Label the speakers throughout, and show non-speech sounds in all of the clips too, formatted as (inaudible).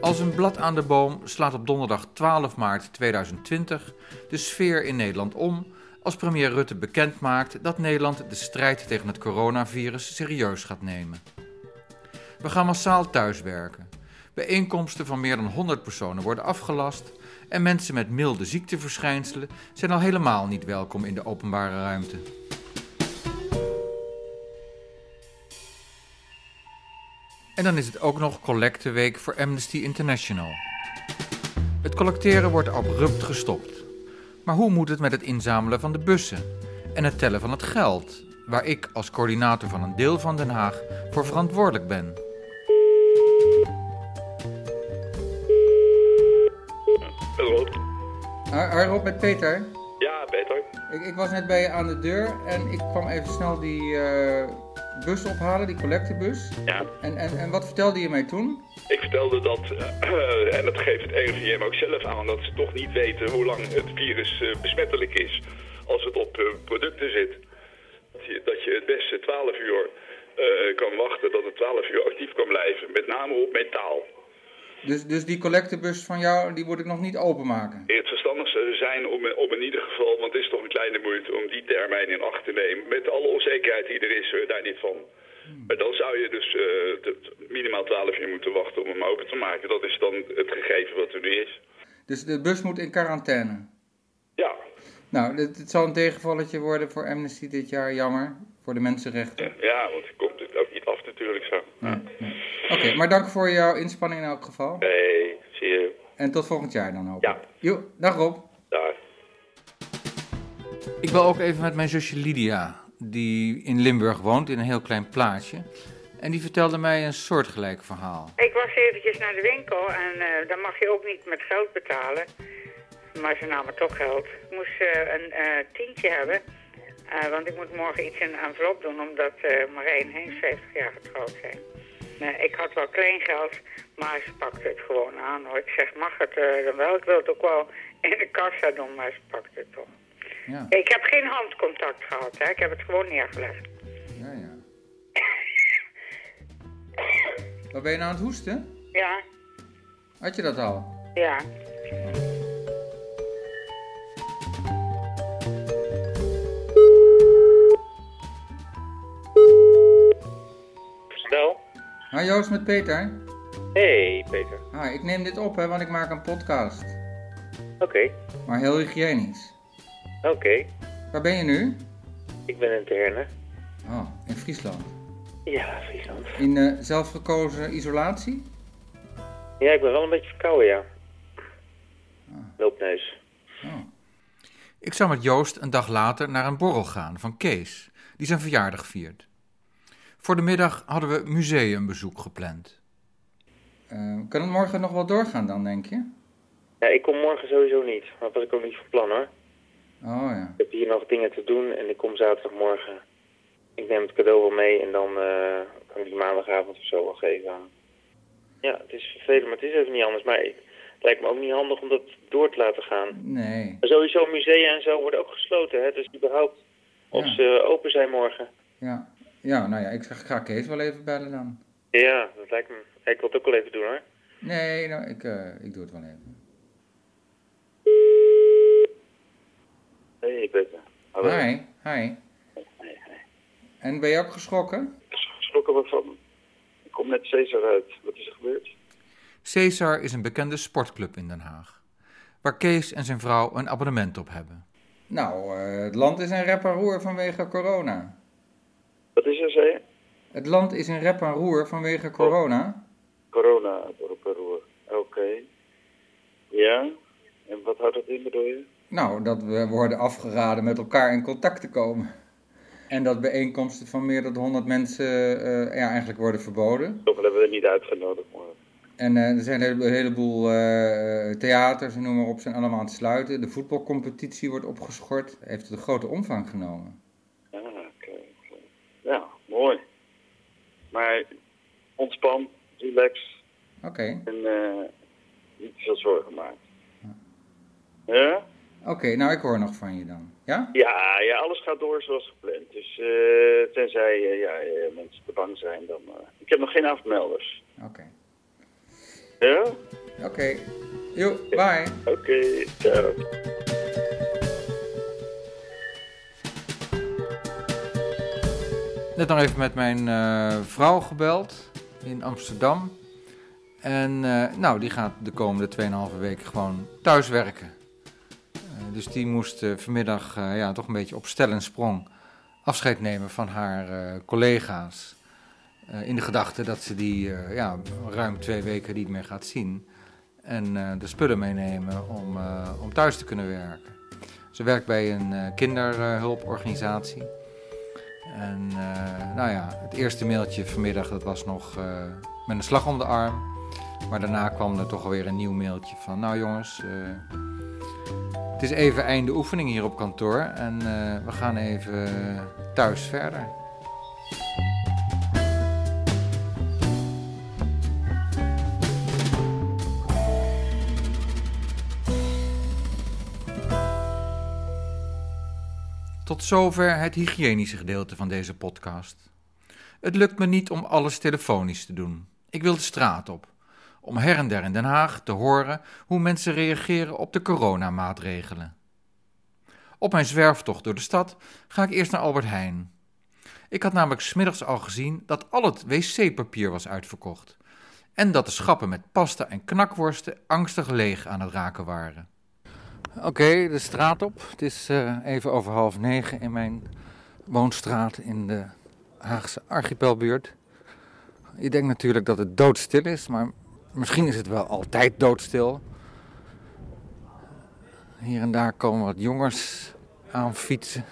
Speaker 1: Als een blad aan de boom slaat op donderdag 12 maart 2020 de sfeer in Nederland om als premier Rutte bekendmaakt dat Nederland de strijd tegen het coronavirus serieus gaat nemen. We gaan massaal thuiswerken. Bijeenkomsten van meer dan 100 personen worden afgelast en mensen met milde ziekteverschijnselen zijn al helemaal niet welkom in de openbare ruimte. En dan is het ook nog collecteweek voor Amnesty International. Het collecteren wordt abrupt gestopt. Maar hoe moet het met het inzamelen van de bussen en het tellen van het geld, waar ik als coördinator van een deel van Den Haag voor verantwoordelijk ben?
Speaker 2: Hallo.
Speaker 1: Rob met Peter.
Speaker 2: Ja, Peter.
Speaker 1: Ik, ik was net bij je aan de deur en ik kwam even snel die eh, bus ophalen, die collectebus.
Speaker 2: Ja.
Speaker 1: En, en, en wat vertelde je mij toen?
Speaker 2: Ik vertelde dat, eh, (clears throat) en dat geeft het RIVM ook zelf aan, dat ze toch niet weten hoe lang het virus eh, besmettelijk is als het op eh, producten zit. Dat je, dat je het beste 12 uur eh, kan wachten, dat het 12 uur actief kan blijven, met name op metaal.
Speaker 1: Dus, dus die collectebus van jou, die moet ik nog niet openmaken.
Speaker 2: Het verstandigste zou zijn om, eh, om in ieder geval, want het is toch een kleine moeite om die termijn in acht te nemen. Met alle onzekerheid die er is, eh, daar niet van. Maar dan zou je dus eh, t- minimaal 12 uur moeten wachten om hem open te maken. Dat is dan het gegeven wat er nu is.
Speaker 1: Dus de bus moet in quarantaine.
Speaker 2: Ja,
Speaker 1: Nou, dit, dit zal een tegenvalletje worden voor Amnesty dit jaar, jammer. Voor de mensenrechten.
Speaker 2: ja want het komt het ook niet af natuurlijk zo.
Speaker 1: Oké, maar dank voor jouw inspanning in elk geval.
Speaker 2: Nee, zie je.
Speaker 1: En tot volgend jaar dan hoop ik.
Speaker 2: Ja.
Speaker 1: Jo, dag Rob.
Speaker 2: Daar.
Speaker 1: Ik bel ook even met mijn zusje Lydia, die in Limburg woont, in een heel klein plaatsje. En die vertelde mij een soortgelijk verhaal.
Speaker 3: Ik was eventjes naar de winkel en eh, dan mag je ook niet met geld betalen. Maar ze namen toch geld. Ik moest eh, een eh, tientje hebben, eh, want ik moet morgen iets in een envelop doen... omdat eh Marijn Heens 50 jaar getrouwd zijn. Nee, ik had wel klein geld, maar ze pakte het gewoon aan. Hoor. Ik zeg, mag het eh, dan wel? Ik wil het ook wel in de kassa doen, maar ze pakte het toch.
Speaker 1: Ja,
Speaker 3: Ik heb geen handcontact gehad, hè. ik heb het gewoon neergelegd.
Speaker 1: ja, ja. Wat ben je nou aan het hoesten?
Speaker 3: Ja,
Speaker 1: Had je dat al?
Speaker 3: ja.
Speaker 4: Snel.
Speaker 1: Hi Joost met Peter.
Speaker 4: Hey Peter.
Speaker 1: Hi, Nou, ik neem dit op hè, want ik maak een podcast.
Speaker 4: Oké,
Speaker 1: Maar heel hygiënisch.
Speaker 4: oké.
Speaker 1: Waar ben je nu?
Speaker 4: Ik ben een terne.
Speaker 1: Oh, in Friesland.
Speaker 4: Ja, Friesland.
Speaker 1: In eh, zelfgekozen isolatie?
Speaker 4: Ja, ik ben wel een beetje verkouden, ja. Loopneus.
Speaker 1: Ik zou met Joost een dag later naar een borrel gaan van Kees, die zijn verjaardag viert. Voor de middag hadden we museumbezoek gepland. Eh, kan het morgen nog wel doorgaan dan, denk je?
Speaker 4: Ja, ik kom morgen sowieso niet. maar Dat was ik ook niet van plan hoor.
Speaker 1: Oh ja.
Speaker 4: Ik heb hier nog dingen te doen en ik kom zaterdagmorgen. Ik neem het cadeau wel mee en dan eh, kan ik die maandagavond of zo wel geven aan. Ja, het is vervelend, maar het is even niet anders. Maar ik- het lijkt me ook niet handig om dat door te laten gaan.
Speaker 1: Nee.
Speaker 4: Maar sowieso musea en zo worden ook gesloten, hè. Dus überhaupt of
Speaker 1: Ja.
Speaker 4: ze open zijn morgen.
Speaker 1: Ja. ja, nou ja, ik zeg, ik ga Kees wel even bellen dan.
Speaker 4: Ja, dat lijkt me. Ik wil het ook wel even doen hoor.
Speaker 1: Nee, nou, ik, eh, ik doe het wel even.
Speaker 4: Hey Peter. Hallo.
Speaker 1: Hi, hi. En ben je ook geschrokken?
Speaker 5: Schrokken we van. Ik kom net Cesar uit. Wat is er gebeurd?
Speaker 1: Cesar is een bekende sportclub in Den Haag, waar Kees en zijn vrouw een abonnement op hebben. Nou, eh, het land is een rep en roer vanwege corona.
Speaker 5: Wat is er, zei je?
Speaker 1: Het land is in rep en roer vanwege corona.
Speaker 5: Corona, door op een roer. Oké. Ja? En wat houdt dat in, bedoel je?
Speaker 1: Nou, dat we worden afgeraden met elkaar in contact te komen. En dat bijeenkomsten van meer dan 100 mensen eh, ja, eigenlijk worden verboden.
Speaker 5: Toch hebben we er niet uitgenodigd, maar...
Speaker 1: En eh, er zijn een heleboel- heleboel eh, theaters en noem maar op, zijn allemaal aan het sluiten. De voetbalcompetitie wordt opgeschort. Heeft een grote omvang genomen.
Speaker 5: Ja, Ah, oké. oké. Ja, mooi. Maar ontspan, relax
Speaker 1: Oké,
Speaker 5: en eh niet te veel zorgen maken. Ja?
Speaker 1: oké, nou ik hoor nog van je dan. Ja?
Speaker 5: Ja, ja, alles gaat door zoals gepland. Dus eh, tenzij eh, ja, eh, mensen te bang zijn, dan... eh, Ik heb nog geen afmelders.
Speaker 1: Oké.
Speaker 5: Ja?
Speaker 1: Oké. Jo, bye.
Speaker 5: Oké, ciao.
Speaker 1: Net nog even met mijn eh, vrouw gebeld in Amsterdam. En eh, nou, die gaat de komende 2,5 weken gewoon thuis werken. Eh, dus die moest eh, vanmiddag eh, ja, toch een beetje op stel en sprong afscheid nemen van haar eh, collega's. Eh, in de gedachte dat ze die eh, ja, ruim twee weken niet meer gaat zien. En eh, de spullen meenemen om, eh, om thuis te kunnen werken. Ze werkt bij een eh, kinderhulporganisatie. En eh, nou ja, het eerste mailtje vanmiddag dat was nog eh, met een slag om de arm. Maar daarna kwam er toch alweer een nieuw mailtje van... Nou jongens, eh, het is even einde oefening hier op kantoor. En eh, we gaan even thuis verder. Tot zover het hygiënische gedeelte van deze podcast. Het lukt me niet om alles telefonisch te doen. Ik wil de straat op, om her en der in Den Haag te horen hoe mensen reageren op de coronamaatregelen. Op mijn zwerftocht door de stad ga ik eerst naar Albert Heijn. Ik had namelijk smiddags al gezien dat al het wc-papier was uitverkocht en dat de schappen met pasta en knakworsten angstig leeg aan het raken waren. Oké, de straat op. Het is eh, even over half negen in mijn woonstraat in de Haagse archipelbuurt. Je denkt natuurlijk dat het doodstil is, maar misschien is het wel altijd doodstil. Hier en daar komen wat jongens aan fietsen.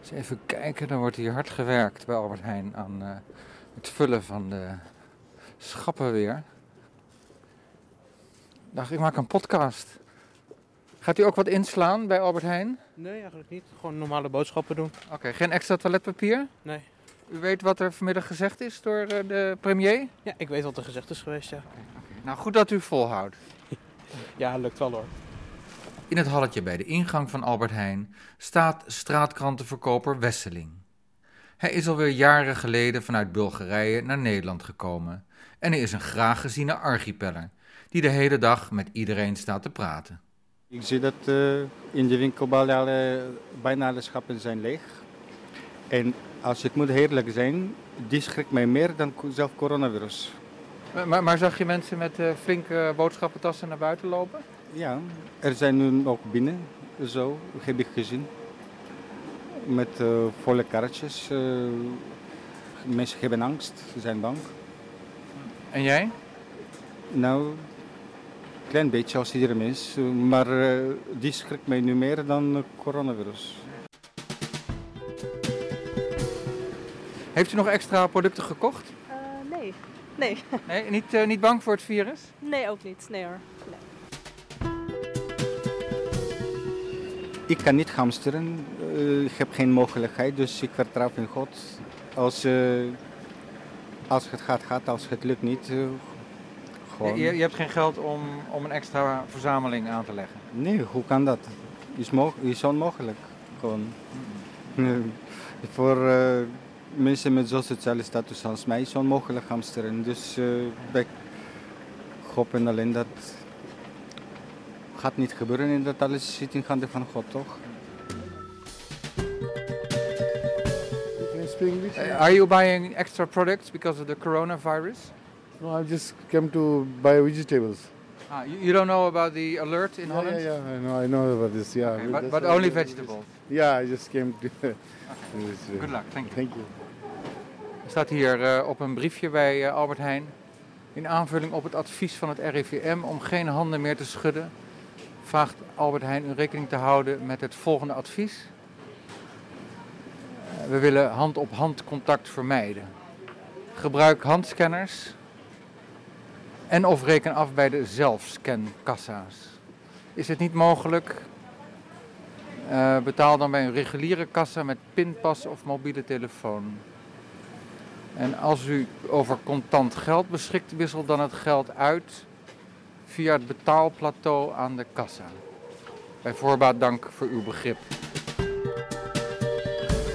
Speaker 1: Eens even kijken, dan wordt hier hard gewerkt bij Albert Heijn aan eh, het vullen van de schappen weer dacht ik maak een podcast. Gaat u ook wat inslaan bij Albert Heijn?
Speaker 6: Nee, eigenlijk niet. Gewoon normale boodschappen doen.
Speaker 1: Oké, geen extra toiletpapier?
Speaker 6: Nee.
Speaker 1: U weet wat er vanmiddag gezegd is door eh, de premier?
Speaker 6: Ja, ik weet wat er gezegd is geweest, ja.
Speaker 1: Nou, goed dat u volhoudt.
Speaker 6: Ja, lukt wel hoor.
Speaker 1: In het halletje bij de ingang van Albert Heijn staat straatkrantenverkoper Wesseling. Hij is alweer jaren geleden vanuit Bulgarije naar Nederland gekomen en hij is een graag geziene archipeller die de hele dag met iedereen staat te praten.
Speaker 7: Ik zie dat eh, in de winkel bijna alle, eh, bijna alle schappen zijn leeg. En als ik moet eerlijk zijn, die schrikt mij meer dan ko- zelf coronavirus.
Speaker 1: Maar, maar, maar zag je mensen met eh, flinke boodschappentassen naar buiten lopen?
Speaker 7: Ja, er zijn nu ook binnen, zo heb ik gezien. Met eh, volle karretjes. eh, mensen hebben angst, ze zijn bang.
Speaker 1: En jij?
Speaker 7: Nou, klein beetje als iedere mens, eh, maar eh, die schrikt mij nu meer dan eh, coronavirus.
Speaker 1: Heeft u nog extra producten gekocht?
Speaker 8: Eh, nee. Nee. (laughs)
Speaker 1: Nee, niet, eh, niet bang voor het virus?
Speaker 8: Nee, ook niet. Nee hoor. Nee.
Speaker 7: Ik kan niet hamsteren, eh, ik heb geen mogelijkheid, dus ik vertrouw in God. Als, eh, als het gaat, gaat, als het lukt niet, eh, gewoon.
Speaker 1: Je, je hebt geen geld om, om een extra verzameling aan te leggen.
Speaker 7: Nee, hoe kan dat? Is, mo- is onmogelijk, gewoon. Nee. Voor eh, mensen met zo'n sociale status als mij is onmogelijk hamsteren, dus eh wij hopen alleen dat gaat niet gebeuren en dat alles zit in handen van God, toch?
Speaker 9: You can speak English?
Speaker 1: Eh, are you buying extra products because of the coronavirus?
Speaker 9: No, I just came to buy vegetables.
Speaker 1: Ah, you, you don't know about the alert in
Speaker 9: yeah,
Speaker 1: Holland?
Speaker 9: yeah, yeah. I know, I know about this. Yeah,
Speaker 1: Okay,
Speaker 9: We-
Speaker 1: but,
Speaker 9: that's
Speaker 1: but
Speaker 9: why
Speaker 1: only
Speaker 9: we- we just-
Speaker 1: vegetables.
Speaker 9: Yeah, I just came to. (laughs) to this, uh,
Speaker 1: Good luck, thank you.
Speaker 9: Thank you.
Speaker 1: Er staat hier eh, op een briefje bij eh, Albert Heijn. In aanvulling op het advies van het RIVM om geen handen meer te schudden, vraagt Albert Heijn u rekening te houden met het volgende advies. Eh, We willen hand-op-hand contact vermijden. Gebruik handscanners en of reken af bij de zelfscankassa's. Is het niet mogelijk? eh, betaal dan bij een reguliere kassa met pinpas of mobiele telefoon. En als u over contant geld beschikt, wissel dan het geld uit via het betaalplateau aan de kassa. Bij voorbaat dank voor uw begrip.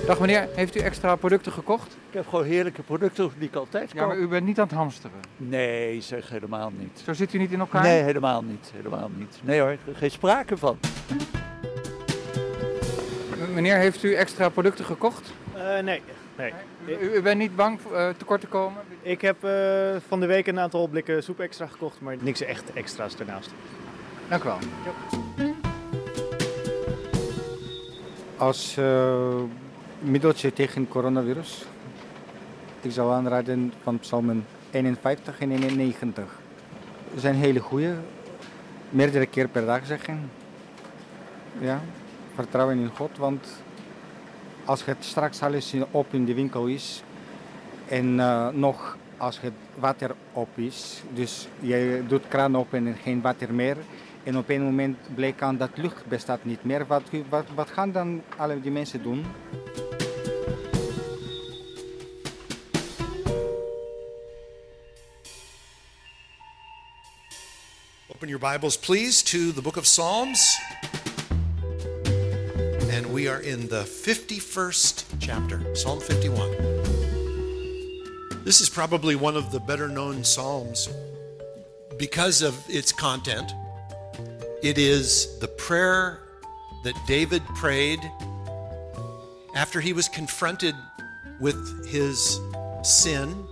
Speaker 1: Dag meneer, heeft u extra producten gekocht?
Speaker 10: Ik heb gewoon heerlijke producten die ik altijd koop.
Speaker 1: Ja, maar u bent niet aan het hamsteren.
Speaker 10: Nee, zeg helemaal niet.
Speaker 1: Zo zit u niet in elkaar?
Speaker 10: Nee, helemaal niet. Helemaal niet. Nee hoor, geen sprake
Speaker 2: (laughs)
Speaker 10: van.
Speaker 1: M- Meneer, heeft u extra producten gekocht?
Speaker 11: Eh, nee, nee.
Speaker 1: U, u bent niet bang eh, tekort te komen?
Speaker 11: Ik heb eh, van de week een aantal blikken soep extra gekocht, maar niks echt extra's daarnaast.
Speaker 1: Dank u wel.
Speaker 7: Als eh, middeltje tegen coronavirus, ik zou aanraden van psalmen 51 en 91. Ze zijn hele goede, meerdere keer per dag zeggen. Ja, vertrouwen in God, want als het straks alles in- op in de winkel is en eh, nog als het water op is, dus je doet kraan open en geen water meer. En op een moment bleek aan dat lucht bestaat niet meer. Wat, wat, wat gaan dan alle die mensen doen?
Speaker 12: Open your Bibles, please, to the book of Psalms. And we are in the 51st chapter, Psalm 51. This is probably one of the better known Psalms because of its content. It is the prayer that David prayed after he was confronted with his sin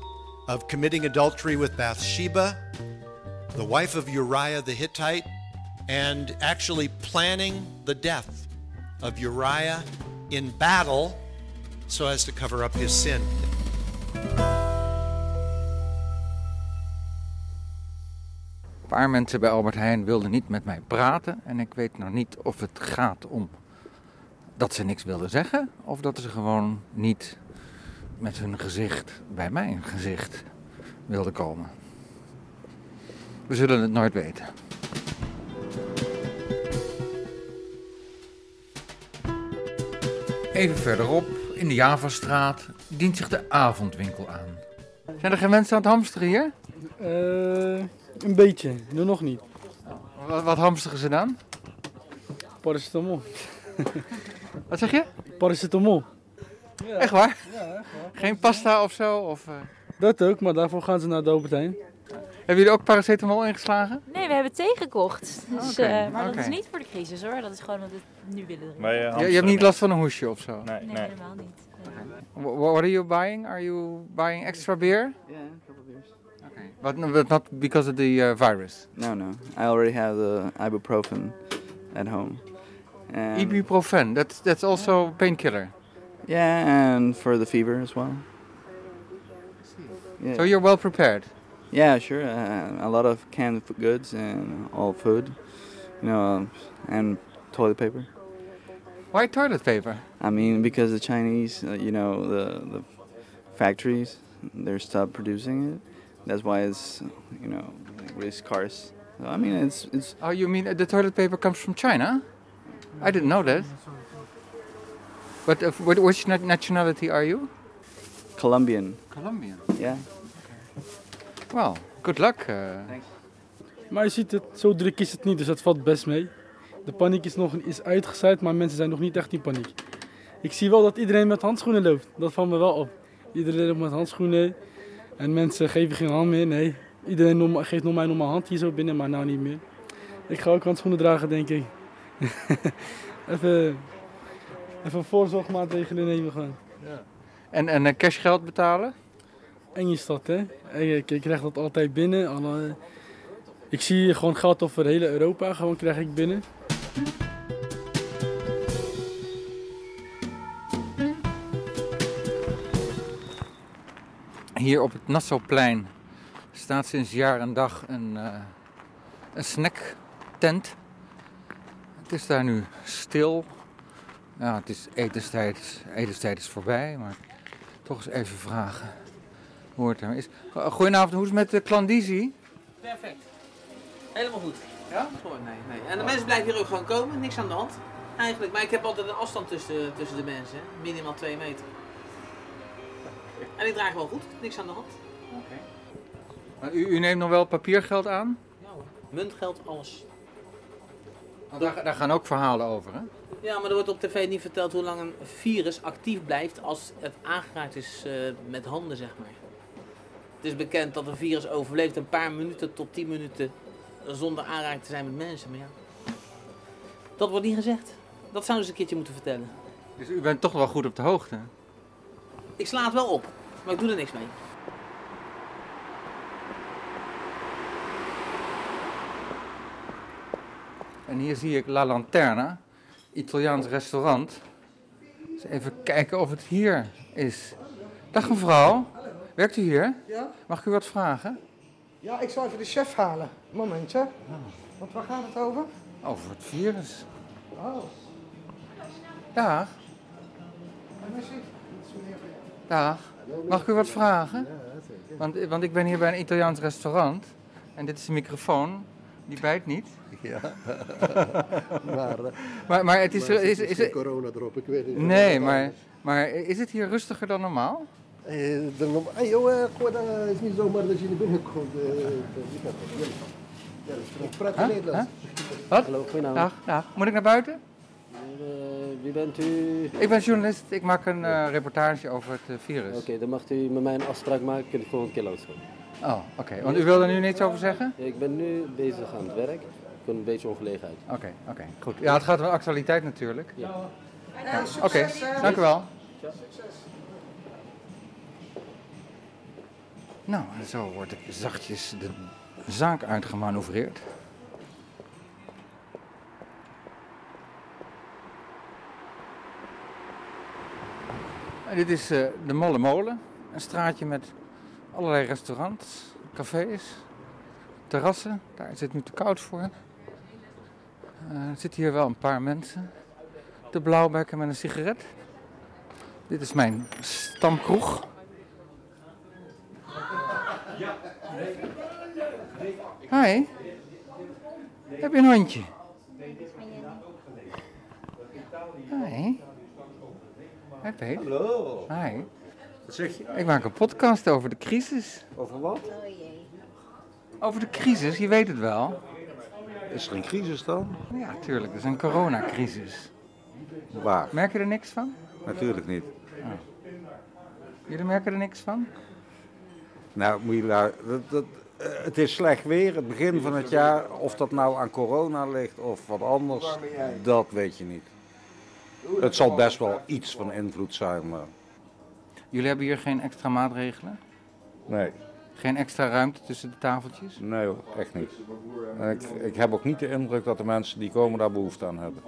Speaker 12: of committing adultery with Bathsheba the wife of Uriah the Hittite, and actually planning the death of Uriah in battle so as to cover up his sin.
Speaker 1: Een paar mensen bij Albert Heijn wilden niet met mij praten. En ik weet nog niet of het gaat om dat ze niks wilden zeggen. Of dat ze gewoon niet met hun gezicht bij mijn gezicht wilden komen. We zullen het nooit weten. Even verderop, in de Javastraat, dient zich de avondwinkel aan. Zijn er geen mensen aan het hamsteren hier?
Speaker 13: Eh, een beetje, doe nog niet.
Speaker 1: Wat, wat hamsteren ze dan?
Speaker 13: Paracetamol.
Speaker 1: Wat zeg je?
Speaker 13: Paracetamol.
Speaker 1: Echt waar?
Speaker 13: Ja, echt waar.
Speaker 1: Geen pasta of zo? Of, eh,
Speaker 13: Dat ook, maar daarvoor gaan ze naar de Albert Heijn.
Speaker 1: Hebben jullie ook paracetamol ingeslagen?
Speaker 14: Nee, we hebben thee gekocht. Dus,
Speaker 1: Oké,
Speaker 14: eh, maar dat
Speaker 1: oké.
Speaker 14: is niet voor de crisis hoor. Dat is gewoon omdat we het nu willen drinken.
Speaker 1: Je- je, hebt niet last van een hoesje of zo?
Speaker 14: eh, Nee, helemaal niet.
Speaker 1: Wh- What are you buying? Are you buying extra beer?
Speaker 15: Yeah, a couple beers.
Speaker 1: Okay. But, but not because of the uh, virus.
Speaker 15: No, no. I already have the ibuprofen at home. And
Speaker 1: Ibuprofen, that's, that's also a painkiller.
Speaker 15: yeah, and for the fever as well. Yeah.
Speaker 1: So you're well prepared.
Speaker 15: Yeah, sure. Uh, a lot of canned f- goods and all food, you know, and toilet paper.
Speaker 1: Why toilet paper?
Speaker 15: I mean, because the Chinese, uh, you know, the the factories, they're stopped producing it. That's why it's, you know, like really scarce. So, I mean, it's it's
Speaker 1: Oh, you mean uh, the toilet paper comes from China? I didn't know that. But uh, what, which na- nationality are you?
Speaker 15: Colombian.
Speaker 1: Colombian.
Speaker 15: Yeah.
Speaker 1: Well, good luck. Uh,
Speaker 13: Maar je ziet het, zo druk is het niet, dus dat valt best mee. De paniek is nog is uitgezaaid, maar mensen zijn nog niet echt in paniek. Ik zie wel dat iedereen met handschoenen loopt. Dat valt me wel op. Iedereen loopt met handschoenen. En mensen geven geen hand meer, nee. Iedereen norma- geeft normaal normaal hand hier zo binnen, maar nou niet meer. Ik ga ook handschoenen dragen, denk ik. (laughs) even, even voorzorgsmaatregelen nemen gewoon.
Speaker 1: En, en eh, cashgeld betalen?
Speaker 13: Eng is dat, hè? En Ik, ik krijg dat altijd binnen. Alle, eh, ik zie gewoon geld over heel Europa, gewoon krijg ik binnen.
Speaker 1: Hier op het Nassauplein staat sinds jaar en dag een, eh een snacktent. Het is daar nu stil. Ja, het is etenstijd. Etenstijd is voorbij, maar toch eens even vragen hoe het er is. Go- Goedenavond, hoe is het met de klandizie?
Speaker 16: Perfect. Helemaal goed.
Speaker 1: Ja?
Speaker 16: Gewoon nee, nee. En de mensen blijven hier ook gewoon komen, niks aan de hand. Eigenlijk, maar ik heb altijd een afstand tussen, tussen de mensen, hè. minimaal 2 meter. En ik draag wel goed, niks aan de hand.
Speaker 1: U, u neemt nog wel papiergeld aan?
Speaker 16: Ja hoor. Muntgeld, alles.
Speaker 1: Want Nou, daar, daar gaan ook verhalen over, hè?
Speaker 16: Ja, maar er wordt op tv niet verteld hoe lang een virus actief blijft als het aangeraakt is eh, met handen, zeg maar. Het is bekend dat een virus overleeft een paar minuten tot 10 minuten zonder aanraking te zijn met mensen. Maar ja, dat wordt niet gezegd. Dat zouden ze een keertje moeten vertellen.
Speaker 1: Dus u bent toch wel goed op de hoogte.
Speaker 16: Ik sla het wel op, maar ik doe er niks mee.
Speaker 1: En hier zie ik La Lanterna, Italiaans restaurant. Dus even kijken of het hier is. Dag mevrouw, werkt u hier?
Speaker 17: Ja?
Speaker 1: Mag ik u wat vragen?
Speaker 17: Ja, ik zal even de chef halen. Momentje. Want waar gaat het over?
Speaker 1: Over het virus.
Speaker 17: Oh.
Speaker 1: Dag, dag. Mag ik u wat vragen? Want, eh, want ik ben hier bij een Italiaans restaurant. En dit is een microfoon. Die bijt niet. (laughs)
Speaker 18: Ja. eh,
Speaker 1: maar, maar, maar het is...
Speaker 18: maar
Speaker 1: is,
Speaker 18: er
Speaker 1: is,
Speaker 18: geen corona erop, ik weet niet.
Speaker 1: nee, maar, maar is het hier rustiger dan normaal?
Speaker 18: Eh, de norm- hey, jongen,
Speaker 10: Oh,
Speaker 18: gooi dan, eh, het is niet zomaar dat je niet binnenkomt. eh, je gaat het, jullie. Ja, dat is goed. Ik praat
Speaker 1: Huh?
Speaker 18: in Nederlands.
Speaker 1: Wat?
Speaker 19: Hallo,
Speaker 1: Dag,
Speaker 19: goedenavond.
Speaker 1: dag. Nou, Moet ik naar buiten?
Speaker 19: Eh, wie bent u?
Speaker 1: Ik ben journalist. Ik maak een eh, reportage over het eh, virus.
Speaker 19: Oké, dan mag u met mij een afspraak maken de volgende keer langs komen.
Speaker 1: Oh, oké. Want u wil er nu niets over zeggen?
Speaker 19: Ik ben nu bezig aan het werk. Ik ben een beetje ongelegen uit.
Speaker 1: Oké, oké. Goed. Ja, het gaat om actualiteit natuurlijk.
Speaker 19: Ja.
Speaker 1: Ja, Oké, dank u wel. Nou, en zo word ik zachtjes de zaak uitgemanoeuvreerd. En dit is eh, de Molle Molen. Een straatje met allerlei restaurants, cafés, terrassen. Daar is het nu te koud voor. Eh, er zitten hier wel een paar mensen. De blauwbekken met een sigaret. Dit is mijn stamkroeg. Hi. Heb je een hondje? Hi. Hi Peet.
Speaker 20: Hallo.
Speaker 1: Hi.
Speaker 20: Wat zeg je?
Speaker 1: Ik maak een podcast over de crisis.
Speaker 20: Over wat?
Speaker 1: Over de crisis, je weet het wel.
Speaker 20: Is er een crisis dan?
Speaker 1: Ja, tuurlijk. Er is een coronacrisis.
Speaker 20: Waar?
Speaker 1: Merk je er niks van?
Speaker 20: Natuurlijk niet.
Speaker 1: Oh. Jullie merken er niks van?
Speaker 20: Nou, moet je lu- dat, dat, eh, het is slecht weer, het begin van het jaar. Of dat nou aan corona ligt of wat anders, dat weet je niet. Het zal best wel iets van invloed zijn, maar
Speaker 1: Jullie hebben hier geen extra maatregelen?
Speaker 20: nee.
Speaker 1: Geen extra ruimte tussen de tafeltjes?
Speaker 20: Nee hoor, echt niet. En ik, ik heb ook niet de indruk dat de mensen die komen daar behoefte aan hebben.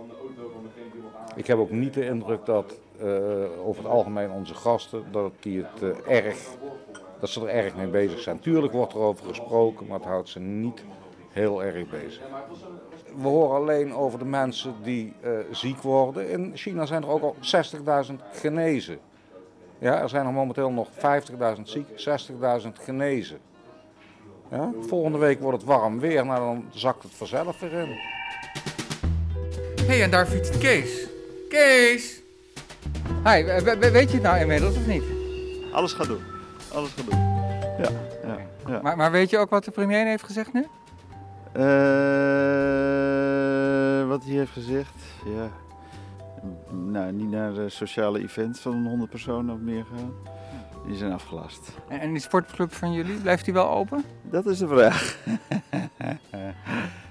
Speaker 20: Ik heb ook niet de indruk dat eh, over het algemeen onze gasten, dat, die het, eh, erg, dat ze er erg mee bezig zijn. Tuurlijk wordt er over gesproken, maar het houdt ze niet heel erg bezig. We horen alleen over de mensen die eh, ziek worden. In China zijn er ook al 60.000 genezen. Ja, er zijn er momenteel nog 50.000 ziek, 60.000 genezen. Ja? Volgende week wordt het warm weer, maar dan zakt het vanzelf weer in.
Speaker 1: Hé, hey, en daar fietst Kees. Kees! Hi, we- we- weet je het nou inmiddels of niet?
Speaker 21: Alles gaat doen. Alles gaat doen. Ja. ja, ja.
Speaker 1: Maar, maar weet je ook wat de premier heeft gezegd nu?
Speaker 21: Eh, wat hij heeft gezegd, ja. M- Nou, niet naar eh, sociale events van 100 personen of meer gaan. Die zijn afgelast.
Speaker 1: En, en die sportclub van jullie, blijft die wel open?
Speaker 21: Dat is de vraag. (laughs)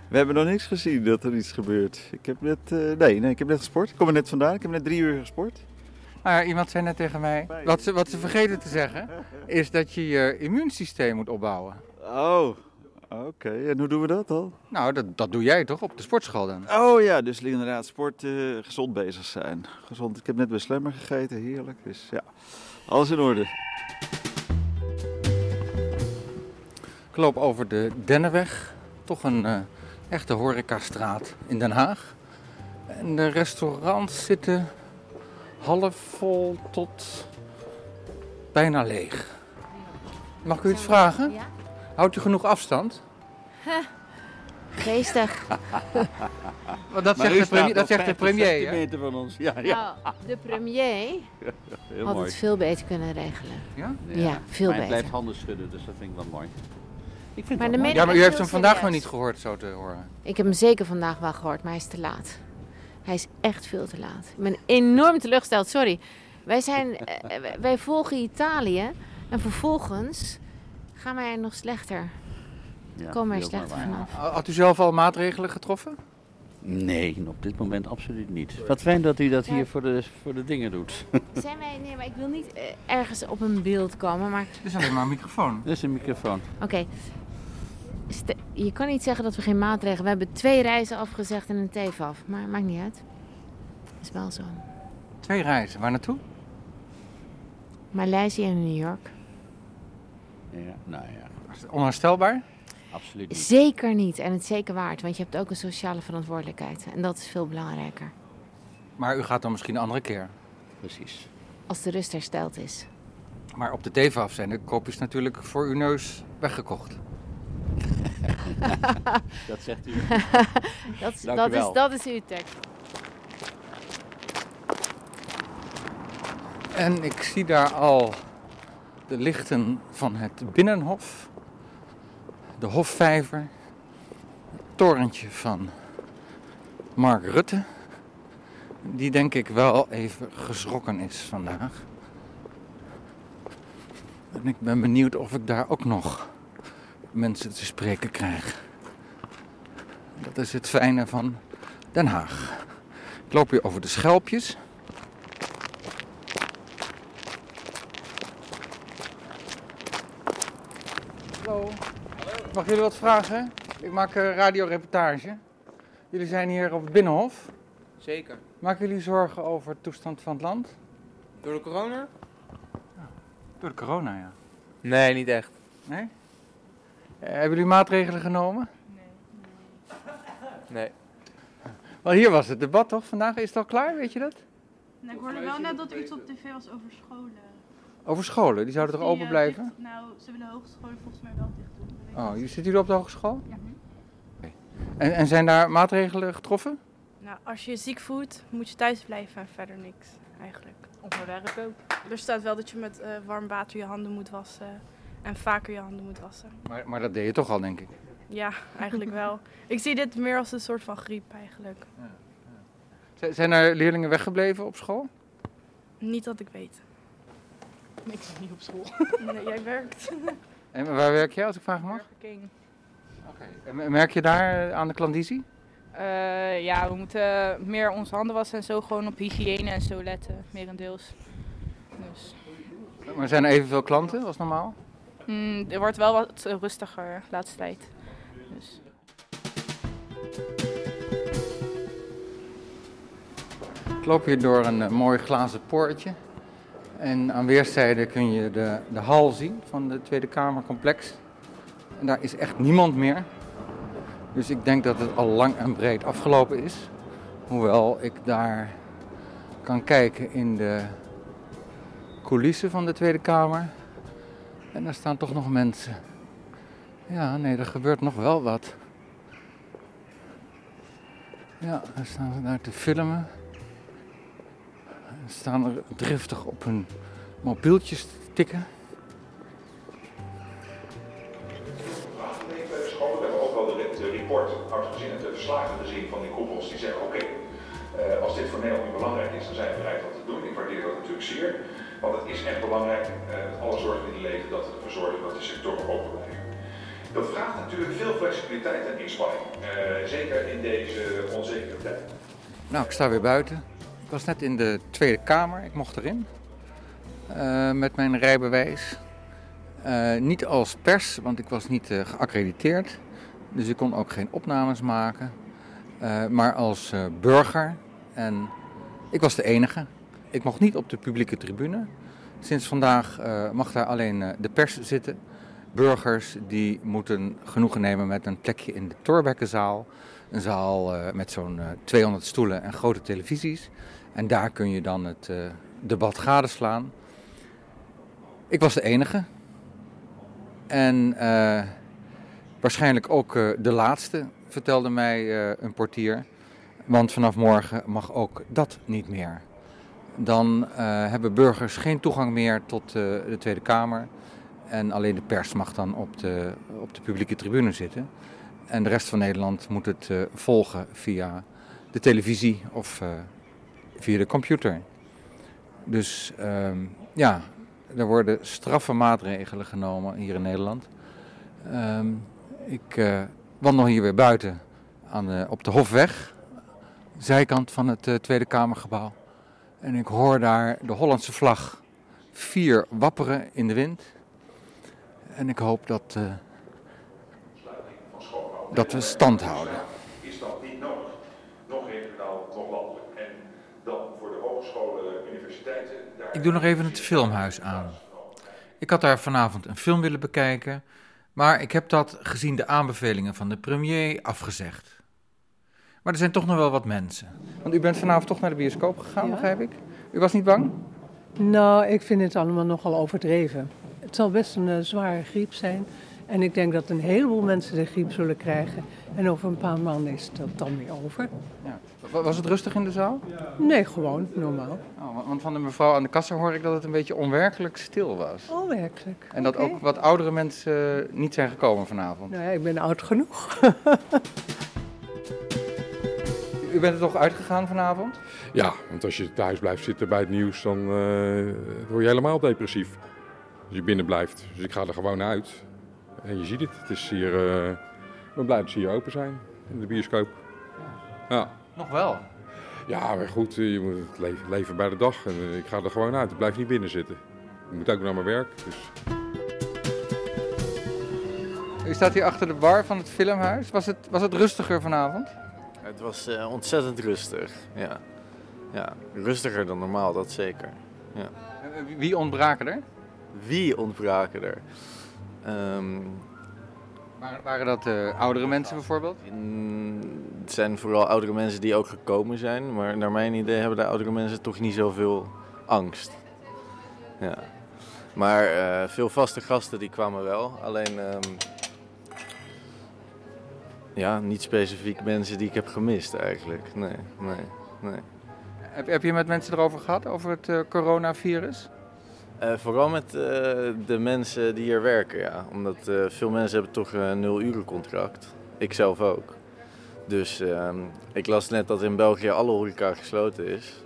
Speaker 21: We hebben nog niks gezien dat er iets gebeurt. Ik heb net, eh, nee, nee, ik heb net gesport. Ik kom er net vandaan. Ik heb net drie uur gesport.
Speaker 1: Ah, ja, iemand zei net tegen mij, wat ze, wat ze vergeten te zeggen, is dat je je immuunsysteem moet opbouwen.
Speaker 21: Oh, oké. En hoe doen we dat dan?
Speaker 1: Nou, dat, dat doe jij toch op de sportschool dan?
Speaker 21: Oh ja, dus inderdaad, sport, eh, gezond bezig zijn. Gezond. Ik heb net bij Slemmer gegeten, heerlijk. Dus ja, alles in orde.
Speaker 1: Ik loop over de Dennenweg, toch een eh, echte horecastraat in Den Haag. En de restaurants zitten half vol tot bijna leeg. Mag ik u iets vragen?
Speaker 22: Ja.
Speaker 1: Houdt u genoeg afstand? (laughs)
Speaker 22: Geestig.
Speaker 1: Want dat zegt de premier. Dat zegt de premier hè?
Speaker 21: van ons. Ja,
Speaker 22: Nou, de premier
Speaker 21: Heel
Speaker 22: had
Speaker 21: mooi.
Speaker 22: het veel beter kunnen regelen.
Speaker 1: Ja?
Speaker 22: Ja, veel
Speaker 21: maar
Speaker 22: beter.
Speaker 21: Hij blijft handen schudden, dus dat vind ik wel mooi.
Speaker 12: Ik vind
Speaker 22: Maar
Speaker 12: het wel
Speaker 22: de mening
Speaker 12: mooi.
Speaker 1: Ja, maar u
Speaker 22: is
Speaker 1: heeft
Speaker 22: heel
Speaker 1: hem vandaag
Speaker 22: serieus.
Speaker 1: maar niet gehoord, zo te horen.
Speaker 22: Ik heb hem zeker vandaag wel gehoord, maar hij is te laat. Hij is echt veel te laat. Ik ben enorm teleurgesteld, sorry. Wij,
Speaker 21: (laughs)
Speaker 22: zijn, eh, eh, wij volgen Italië en vervolgens gaan wij nog slechter. Komen wij slechter vanaf.
Speaker 1: Had u zelf al maatregelen getroffen?
Speaker 2: Nee, op dit moment absoluut niet. Wat fijn dat u dat
Speaker 22: Ja.
Speaker 2: hier voor de, voor de dingen doet. (laughs)
Speaker 22: Zijn wij, nee, maar ik wil niet eh, ergens op een beeld komen, maar...
Speaker 1: Dit is alleen maar een microfoon.
Speaker 2: Dit is een microfoon.
Speaker 22: Oké. Ste- Je kan niet zeggen dat we geen maatregelen... We hebben twee reizen afgezegd en een TVAF, maar maakt niet uit. Is wel zo.
Speaker 1: Twee reizen, waar naartoe?
Speaker 22: Maleisië en New York.
Speaker 2: Ja, nou ja.
Speaker 1: Onherstelbaar?
Speaker 2: Absoluut niet.
Speaker 22: Zeker niet. En het zeker waard. Want je hebt ook een sociale verantwoordelijkheid. En dat is veel belangrijker.
Speaker 1: Maar u gaat dan misschien een andere keer.
Speaker 2: Precies.
Speaker 22: Als de rust hersteld is. (laughs)
Speaker 1: Maar op de TVAF zijn de kopjes natuurlijk voor uw neus weggekocht.
Speaker 2: (laughs) dat zegt u.
Speaker 22: dat, is,
Speaker 1: Dank u
Speaker 22: dat, is,
Speaker 1: wel.
Speaker 22: dat is uw tekst.
Speaker 1: En ik zie daar al de lichten van het Binnenhof, de Hofvijver, het torentje van Mark Rutte, die denk ik wel even geschrokken is vandaag. En ik ben benieuwd of ik daar ook nog mensen te spreken krijg. Dat is het fijne van Den Haag. Ik loop hier over de schelpjes. Hallo. Mag jullie wat vragen? Ik maak een radioreportage. Jullie zijn hier op het Binnenhof.
Speaker 4: Zeker.
Speaker 1: Maken jullie zorgen over de toestand van het land?
Speaker 4: Door de corona?
Speaker 1: Door de corona, ja.
Speaker 4: Nee, niet echt.
Speaker 1: Nee? Eh, hebben jullie maatregelen genomen?
Speaker 4: Nee.
Speaker 1: Wel, hier was het debat toch vandaag? Is het al klaar, weet je dat?
Speaker 3: Nou, ik hoorde wel net dat er iets op tv was over scholen.
Speaker 1: Over scholen, die zouden
Speaker 3: Of
Speaker 1: toch
Speaker 3: die,
Speaker 1: open
Speaker 3: eh,
Speaker 1: blijven?
Speaker 3: dicht- nou, ze willen hogescholen volgens mij wel dicht doen. Dat weet ik
Speaker 1: Oh,
Speaker 3: niet.
Speaker 1: jullie zitten jullie op de hogeschool? Ja. En, en zijn daar maatregelen getroffen?
Speaker 3: Nou, als je je ziek voelt, moet je thuis blijven en verder niks eigenlijk. Op mijn werk ook. Er staat wel dat je met eh, warm water je handen moet wassen. En vaker je handen moet wassen.
Speaker 1: Maar, maar dat deed je toch al, denk ik.
Speaker 3: Ja, (laughs) eigenlijk wel. Ik zie dit meer als een soort van griep eigenlijk.
Speaker 1: Z- zijn er leerlingen weggebleven op school?
Speaker 3: Niet dat ik weet.
Speaker 23: Ik zit niet op school.
Speaker 3: Nee, jij werkt.
Speaker 1: En waar werk jij, als ik vragen mag?
Speaker 23: King.
Speaker 1: En merk je daar eh, aan de klandizie?
Speaker 23: Eh, ja, we moeten meer onze handen wassen en zo gewoon op hygiëne en zo letten, merendeels. Dus,
Speaker 1: Maar zijn er evenveel klanten als normaal?
Speaker 23: mm, er wordt wel wat eh, rustiger de laatste tijd. Dus.
Speaker 1: Ik loop hier door een eh, mooi glazen poortje. En aan weerszijden kun je de, de hal zien van de Tweede Kamercomplex. En daar is echt niemand meer. Dus ik denk dat het al lang en breed afgelopen is. Hoewel ik daar kan kijken in de coulissen van de Tweede Kamer. En daar staan toch nog mensen. Ja, nee, er gebeurt nog wel wat. Ja, daar staan ze daar te filmen. Ze staan er driftig op hun mobieltjes te tikken.
Speaker 24: afgegeven. Scholen hebben ook wel de, de report hard gezien en de verslagen gezien van die koepels die zeggen: oké, eh, als dit voor Nederland niet belangrijk is, dan zijn we bereid dat te doen. Ik waardeer dat natuurlijk zeer, want het is echt belangrijk eh, met alle zorgen die leven dat we ervoor zorgen dat de sectoren open blijven. Dat vraagt natuurlijk veel flexibiliteit en inspanning, eh, zeker in deze onzekere tijd.
Speaker 1: Nou, ik sta weer buiten. Ik was net in de Tweede Kamer. Ik mocht erin. Eh, met mijn rijbewijs. Eh, niet als pers, want ik was niet eh, geaccrediteerd. Dus ik kon ook geen opnames maken. Eh, maar als eh, burger. En ik was de enige. Ik mocht niet op de publieke tribune. Sinds vandaag eh, mag daar alleen eh, de pers zitten. Burgers die moeten genoegen nemen met een plekje in de Torbekkenzaal. Een zaal eh, met zo'n eh, 200 stoelen en grote televisies. En daar kun je dan het eh, debat gadeslaan. Ik was de enige. En eh, waarschijnlijk ook eh, de laatste, vertelde mij eh, een portier. Want vanaf morgen mag ook dat niet meer. Dan eh, hebben burgers geen toegang meer tot eh, de Tweede Kamer. En alleen de pers mag dan op de, op de publieke tribune zitten. En de rest van Nederland moet het eh, volgen via de televisie of eh, via de computer. Dus ehm, ja, er worden straffe maatregelen genomen hier in Nederland. Ehm, ik eh, wandel hier weer buiten aan de, op de Hofweg, zijkant van het eh, Tweede Kamergebouw. En ik hoor daar de Hollandse vlag vier wapperen in de wind. En ik hoop dat, eh, dat we stand houden.
Speaker 14: Is dat niet nodig?
Speaker 24: Nog regionaal, nog landelijk. En dan voor de hogescholen, universiteiten. Daar...
Speaker 1: Ik doe nog even het filmhuis aan. Ik had daar vanavond een film willen bekijken, maar ik heb dat gezien de aanbevelingen van de premier afgezegd. Maar er zijn toch nog wel wat mensen. Want u bent vanavond toch naar de bioscoop gegaan, begrijp ik? U was niet bang?
Speaker 5: Nou, ik vind het allemaal nogal overdreven. Het zal best een eh, zware griep zijn. En ik denk dat een heleboel mensen de griep zullen krijgen. En over een paar maanden is dat dan weer over.
Speaker 1: Wa- Was het rustig in de zaal?
Speaker 5: Nee, gewoon normaal.
Speaker 1: Oh, wa- want van de mevrouw aan de kassa hoor ik dat het een beetje onwerkelijk stil was.
Speaker 5: Oh, werkelijk.
Speaker 1: En dat
Speaker 5: Oké.
Speaker 1: ook wat oudere mensen eh, niet zijn gekomen vanavond.
Speaker 5: Nou ja, ik ben oud genoeg. (laughs)
Speaker 1: U bent er toch uitgegaan vanavond?
Speaker 6: Ja, want als je thuis blijft zitten bij het nieuws, dan eh, word je helemaal depressief. Als je binnen blijft. Dus ik ga er gewoon uit. En je ziet het. Het is hier... eh, ik ben blij dat ze hier open zijn. In de bioscoop. Ja.
Speaker 1: Nog wel.
Speaker 6: Ja, maar goed. eh, Je moet het le- leven bij de dag. En eh, ik ga er gewoon uit. Ik blijf niet binnen zitten. Ik moet ook naar mijn werk. Dus
Speaker 1: U staat hier achter de bar van het filmhuis. Was het, was het rustiger vanavond?
Speaker 8: Het was eh, ontzettend rustig, ja. ja. Rustiger dan normaal, dat zeker. Ja.
Speaker 1: Eh, Wie ontbraken er?
Speaker 8: Wie ontbraken er? Ehm,
Speaker 1: Waren, waren dat eh, oudere mensen bijvoorbeeld?
Speaker 8: het zijn vooral oudere mensen die ook gekomen zijn, maar naar mijn idee hebben de oudere mensen toch niet zoveel angst. Ja. Maar eh, veel vaste gasten die kwamen wel, alleen ehm, ja, niet specifiek mensen die ik heb gemist eigenlijk. Nee, nee, nee.
Speaker 1: Heb, heb je met mensen erover gehad, over het eh, coronavirus?
Speaker 8: Eh, vooral met eh, de mensen die hier werken, ja. Omdat eh, veel mensen hebben toch een nul-uren contract. Ik zelf ook. Dus ehm, ik las net dat in België alle horeca gesloten is.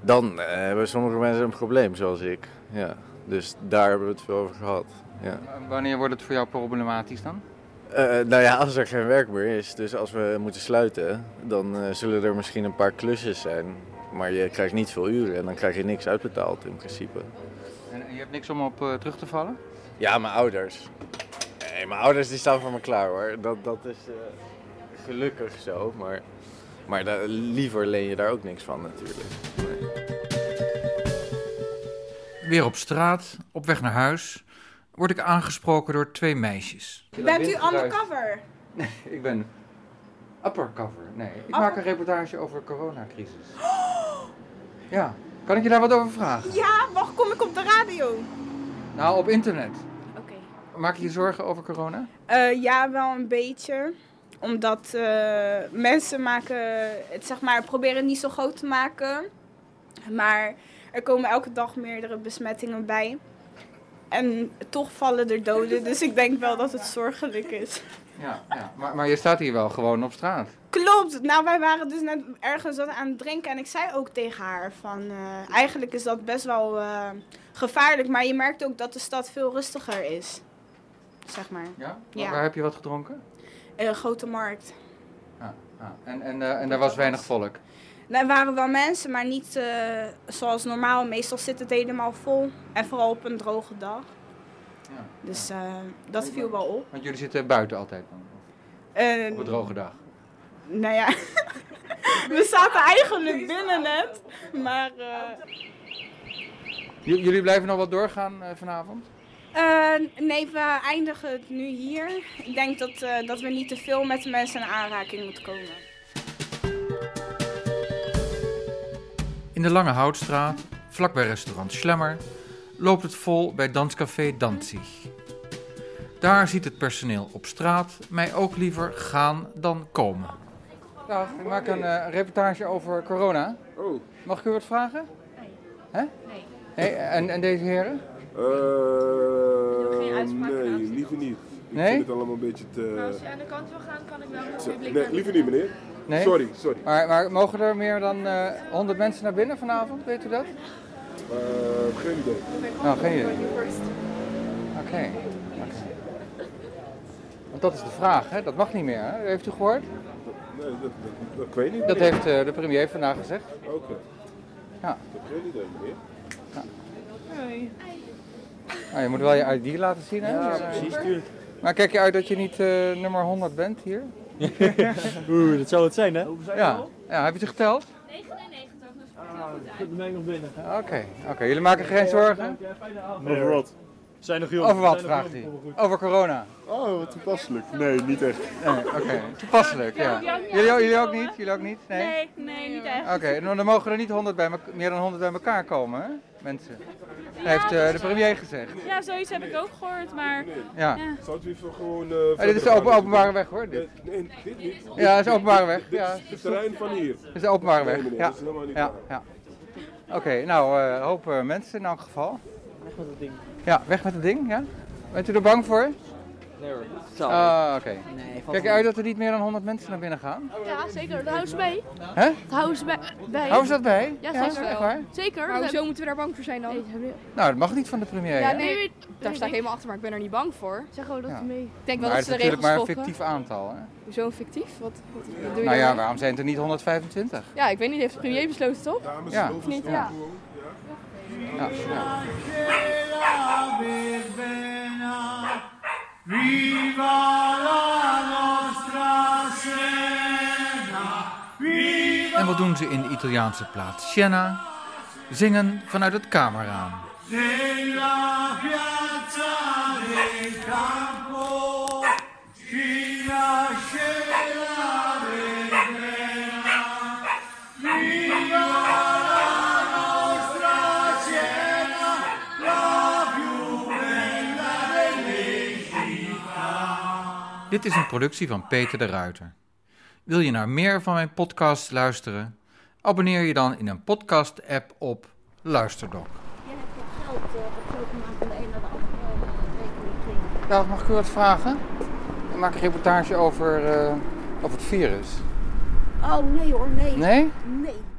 Speaker 8: Dan eh, hebben sommige mensen een probleem, zoals ik. Ja. Dus daar hebben we het veel over gehad. Ja.
Speaker 1: W- Eh, Wanneer wordt het voor jou problematisch dan?
Speaker 8: Eh, nou ja, als er geen werk meer is, dus als we moeten sluiten, dan eh, zullen er misschien een paar klusjes zijn. Maar je krijgt niet veel uren en dan krijg je niks uitbetaald in principe.
Speaker 1: En en je hebt niks om op eh, terug te vallen?
Speaker 8: Ja, mijn ouders. Nee, mijn ouders die staan voor me klaar hoor. Dat, dat is eh, gelukkig zo, maar, maar daar- liever leen je daar ook niks van natuurlijk.
Speaker 1: Weer op straat, op weg naar huis, word ik aangesproken door twee meisjes.
Speaker 9: Bent u undercover?
Speaker 1: Nee, ik ben uppercover. Nee, ik
Speaker 9: Upper- Oh!
Speaker 1: maak een reportage over de coronacrisis.
Speaker 9: (gasps)
Speaker 1: Ja, kan ik je daar wat over vragen?
Speaker 9: Ja, wacht, kom ik op de radio?
Speaker 1: Nou, op internet. Maak je je zorgen over corona?
Speaker 9: Eh, ja, wel een beetje. Omdat eh, mensen maken, het zeg maar, proberen niet zo groot te maken. Maar er komen elke dag meerdere besmettingen bij. En toch vallen er doden, dus ik denk wel dat het zorgelijk is.
Speaker 1: Ja, ja. Maar, maar je staat hier wel gewoon op straat.
Speaker 9: Klopt. Nou, wij waren dus net ergens wat aan het drinken en ik zei ook tegen haar van eh, eigenlijk is dat best wel eh, gevaarlijk, maar je merkt ook dat de stad veel rustiger is. Zeg maar.
Speaker 1: Ja? Wa-
Speaker 9: Ja.
Speaker 1: Waar heb je wat gedronken?
Speaker 9: Eh, grote markt.
Speaker 1: Ja, ja. En, en, eh, en daar was weinig volk.
Speaker 9: Daar waren wel mensen, maar niet eh, zoals normaal. Meestal zit het helemaal vol en vooral op een droge dag. Dus eh, dat viel wel op.
Speaker 1: Want jullie zitten buiten altijd dan,
Speaker 9: Eh,
Speaker 1: op een droge dag.
Speaker 9: Nou ja, (laughs) we zaten eigenlijk binnen net, maar... eh,
Speaker 1: J- jullie blijven nog wat doorgaan eh, vanavond?
Speaker 9: Eh, nee, we eindigen het nu hier. Ik denk dat, eh, dat we niet te veel met de mensen in aanraking moeten komen.
Speaker 1: In de Lange Houtstraat, vlakbij restaurant Schlemmer, loopt het vol bij danscafé Danzig. Daar ziet het personeel op straat mij ook liever gaan dan komen. Dag, ik maak een eh, reportage over corona.
Speaker 7: Oh.
Speaker 1: Mag ik u wat vragen? Nee. Hè? Nee. en, en deze heren?
Speaker 25: Eh,
Speaker 7: Eh, nee, liever niet. Ik
Speaker 1: Nee?
Speaker 7: vind het eh, allemaal een beetje te...
Speaker 11: Nou,
Speaker 1: als
Speaker 7: Nou, je aan de kant wil gaan, kan ik wel
Speaker 1: het publiek
Speaker 7: Nee,
Speaker 1: naar
Speaker 7: liever niet
Speaker 1: binnen.
Speaker 7: meneer.
Speaker 1: Nee?
Speaker 7: Sorry, sorry.
Speaker 1: Maar, maar mogen er meer dan eh 100 mensen naar binnen vanavond, weet u dat?
Speaker 7: Eh, geen idee.
Speaker 1: Nou, geen idee. Oké. oké. Want dat is de vraag, hè? dat mag niet meer. Hè? Heeft u gehoord?
Speaker 7: Nee, dat, dat, dat- ik weet niet.
Speaker 1: Dat
Speaker 7: meneer.
Speaker 1: heeft eh, de premier vandaag gezegd.
Speaker 7: Oké.
Speaker 1: Ja.
Speaker 7: Dat geen idee meneer.
Speaker 1: Nou, je moet wel je ID laten zien, hè?
Speaker 7: Ja, precies, tuurlijk.
Speaker 1: Maar kijk je uit dat je niet eh, nummer 100 bent hier?
Speaker 10: (laughs) Oeh, dat zou het zijn, hè?
Speaker 1: Ja. ja, heb je het geteld?
Speaker 10: 99, dus goed mij nog binnen.
Speaker 1: Oké, oké. jullie maken geen zorgen?
Speaker 10: Over wat? Zijn nog jong.
Speaker 1: Over wat,
Speaker 10: zijn nog
Speaker 1: vraagt
Speaker 10: jong,
Speaker 1: hij.
Speaker 10: kom maar goed.
Speaker 1: Over corona.
Speaker 7: Oh, wat toepasselijk. Nee, niet echt.
Speaker 1: Nee, oké. Toepasselijk, ja. Jullie, jullie ook niet? Jullie ook niet? Nee?
Speaker 11: Nee, nee, niet echt.
Speaker 1: Oké, nou, dan mogen er niet 100 bij elk- meer dan 100 bij elkaar komen, hè? mensen. Dat heeft eh, de premier gezegd.
Speaker 11: Ja, zoiets heb ik ook gehoord, maar...
Speaker 1: Ja.
Speaker 7: Zou het even gewoon... eh,
Speaker 1: Oh, dit is de
Speaker 7: verder
Speaker 1: open,
Speaker 7: gaan?
Speaker 1: openbare weg, hoor. Dit.
Speaker 7: Nee, dit niet.
Speaker 1: Ja, het is de openbare
Speaker 7: Dit-
Speaker 1: weg.
Speaker 7: Dit
Speaker 1: Ja.
Speaker 7: is het terrein van hier.
Speaker 1: Dit is de openbare weg,
Speaker 7: Nee, meneer,
Speaker 1: ja.
Speaker 7: dat is helemaal niet
Speaker 1: ja,
Speaker 7: waar.
Speaker 1: ja. Oké, nou, eh, hoop eh, mensen in elk geval.
Speaker 10: Weg met dat ding.
Speaker 1: Ja, weg met het ding, ja. Bent u er bang voor?
Speaker 10: Nee hoor.
Speaker 1: Ah, oké.
Speaker 10: Nee, valt
Speaker 1: Kijk
Speaker 10: wel
Speaker 1: uit
Speaker 10: mee.
Speaker 1: dat er niet meer dan 100 mensen naar binnen gaan.
Speaker 11: Ja, zeker. Dat houden ze mee.
Speaker 1: Hè?
Speaker 11: Dat houden ze bij. bij.
Speaker 1: Houden ze dat bij?
Speaker 11: Ja,
Speaker 1: Ja,
Speaker 11: zeker.
Speaker 1: echt waar?
Speaker 11: Zeker.
Speaker 15: Maar hoezo
Speaker 11: moeten we daar bang voor zijn dan?
Speaker 1: Nou, dat mag niet van de premier,
Speaker 15: Ja,
Speaker 1: hè?
Speaker 15: nee, daar
Speaker 11: nee,
Speaker 15: sta ik
Speaker 11: nee.
Speaker 15: helemaal achter, maar ik ben er niet bang voor. Zeg gewoon
Speaker 1: dat Ja.
Speaker 15: mee. Ik denk wel
Speaker 1: Maar het
Speaker 15: dat
Speaker 1: is
Speaker 15: ze de
Speaker 1: natuurlijk
Speaker 15: regels
Speaker 1: maar een
Speaker 15: volgen.
Speaker 1: fictief aantal, hè?
Speaker 15: Hoezo een fictief? Wat, wat doe je
Speaker 1: Nou ja,
Speaker 15: daarmee?
Speaker 1: waarom zijn het er niet 125?
Speaker 15: Ja, ik weet niet, heeft de premier besloten toch?
Speaker 1: Ja.
Speaker 15: Of niet? Ja.
Speaker 1: Ja, ja.
Speaker 10: Viva la nostra Viva
Speaker 1: En wat doen ze in de Italiaanse plaats Siena? Zingen vanuit het kamerraam.
Speaker 10: nella piazza del campo ci nascerà l'eterna. Viva la nostra Siena, la più bella delle città.
Speaker 1: Dit is een productie van Peter de Ruiter. Wil je naar meer van mijn podcast luisteren? Abonneer je dan in een podcast-app op Luisterdok. Dag, mag ik u wat vragen? Ik maak een reportage over, eh, over het virus.
Speaker 25: Oh nee hoor, nee.
Speaker 1: Nee?
Speaker 25: Nee,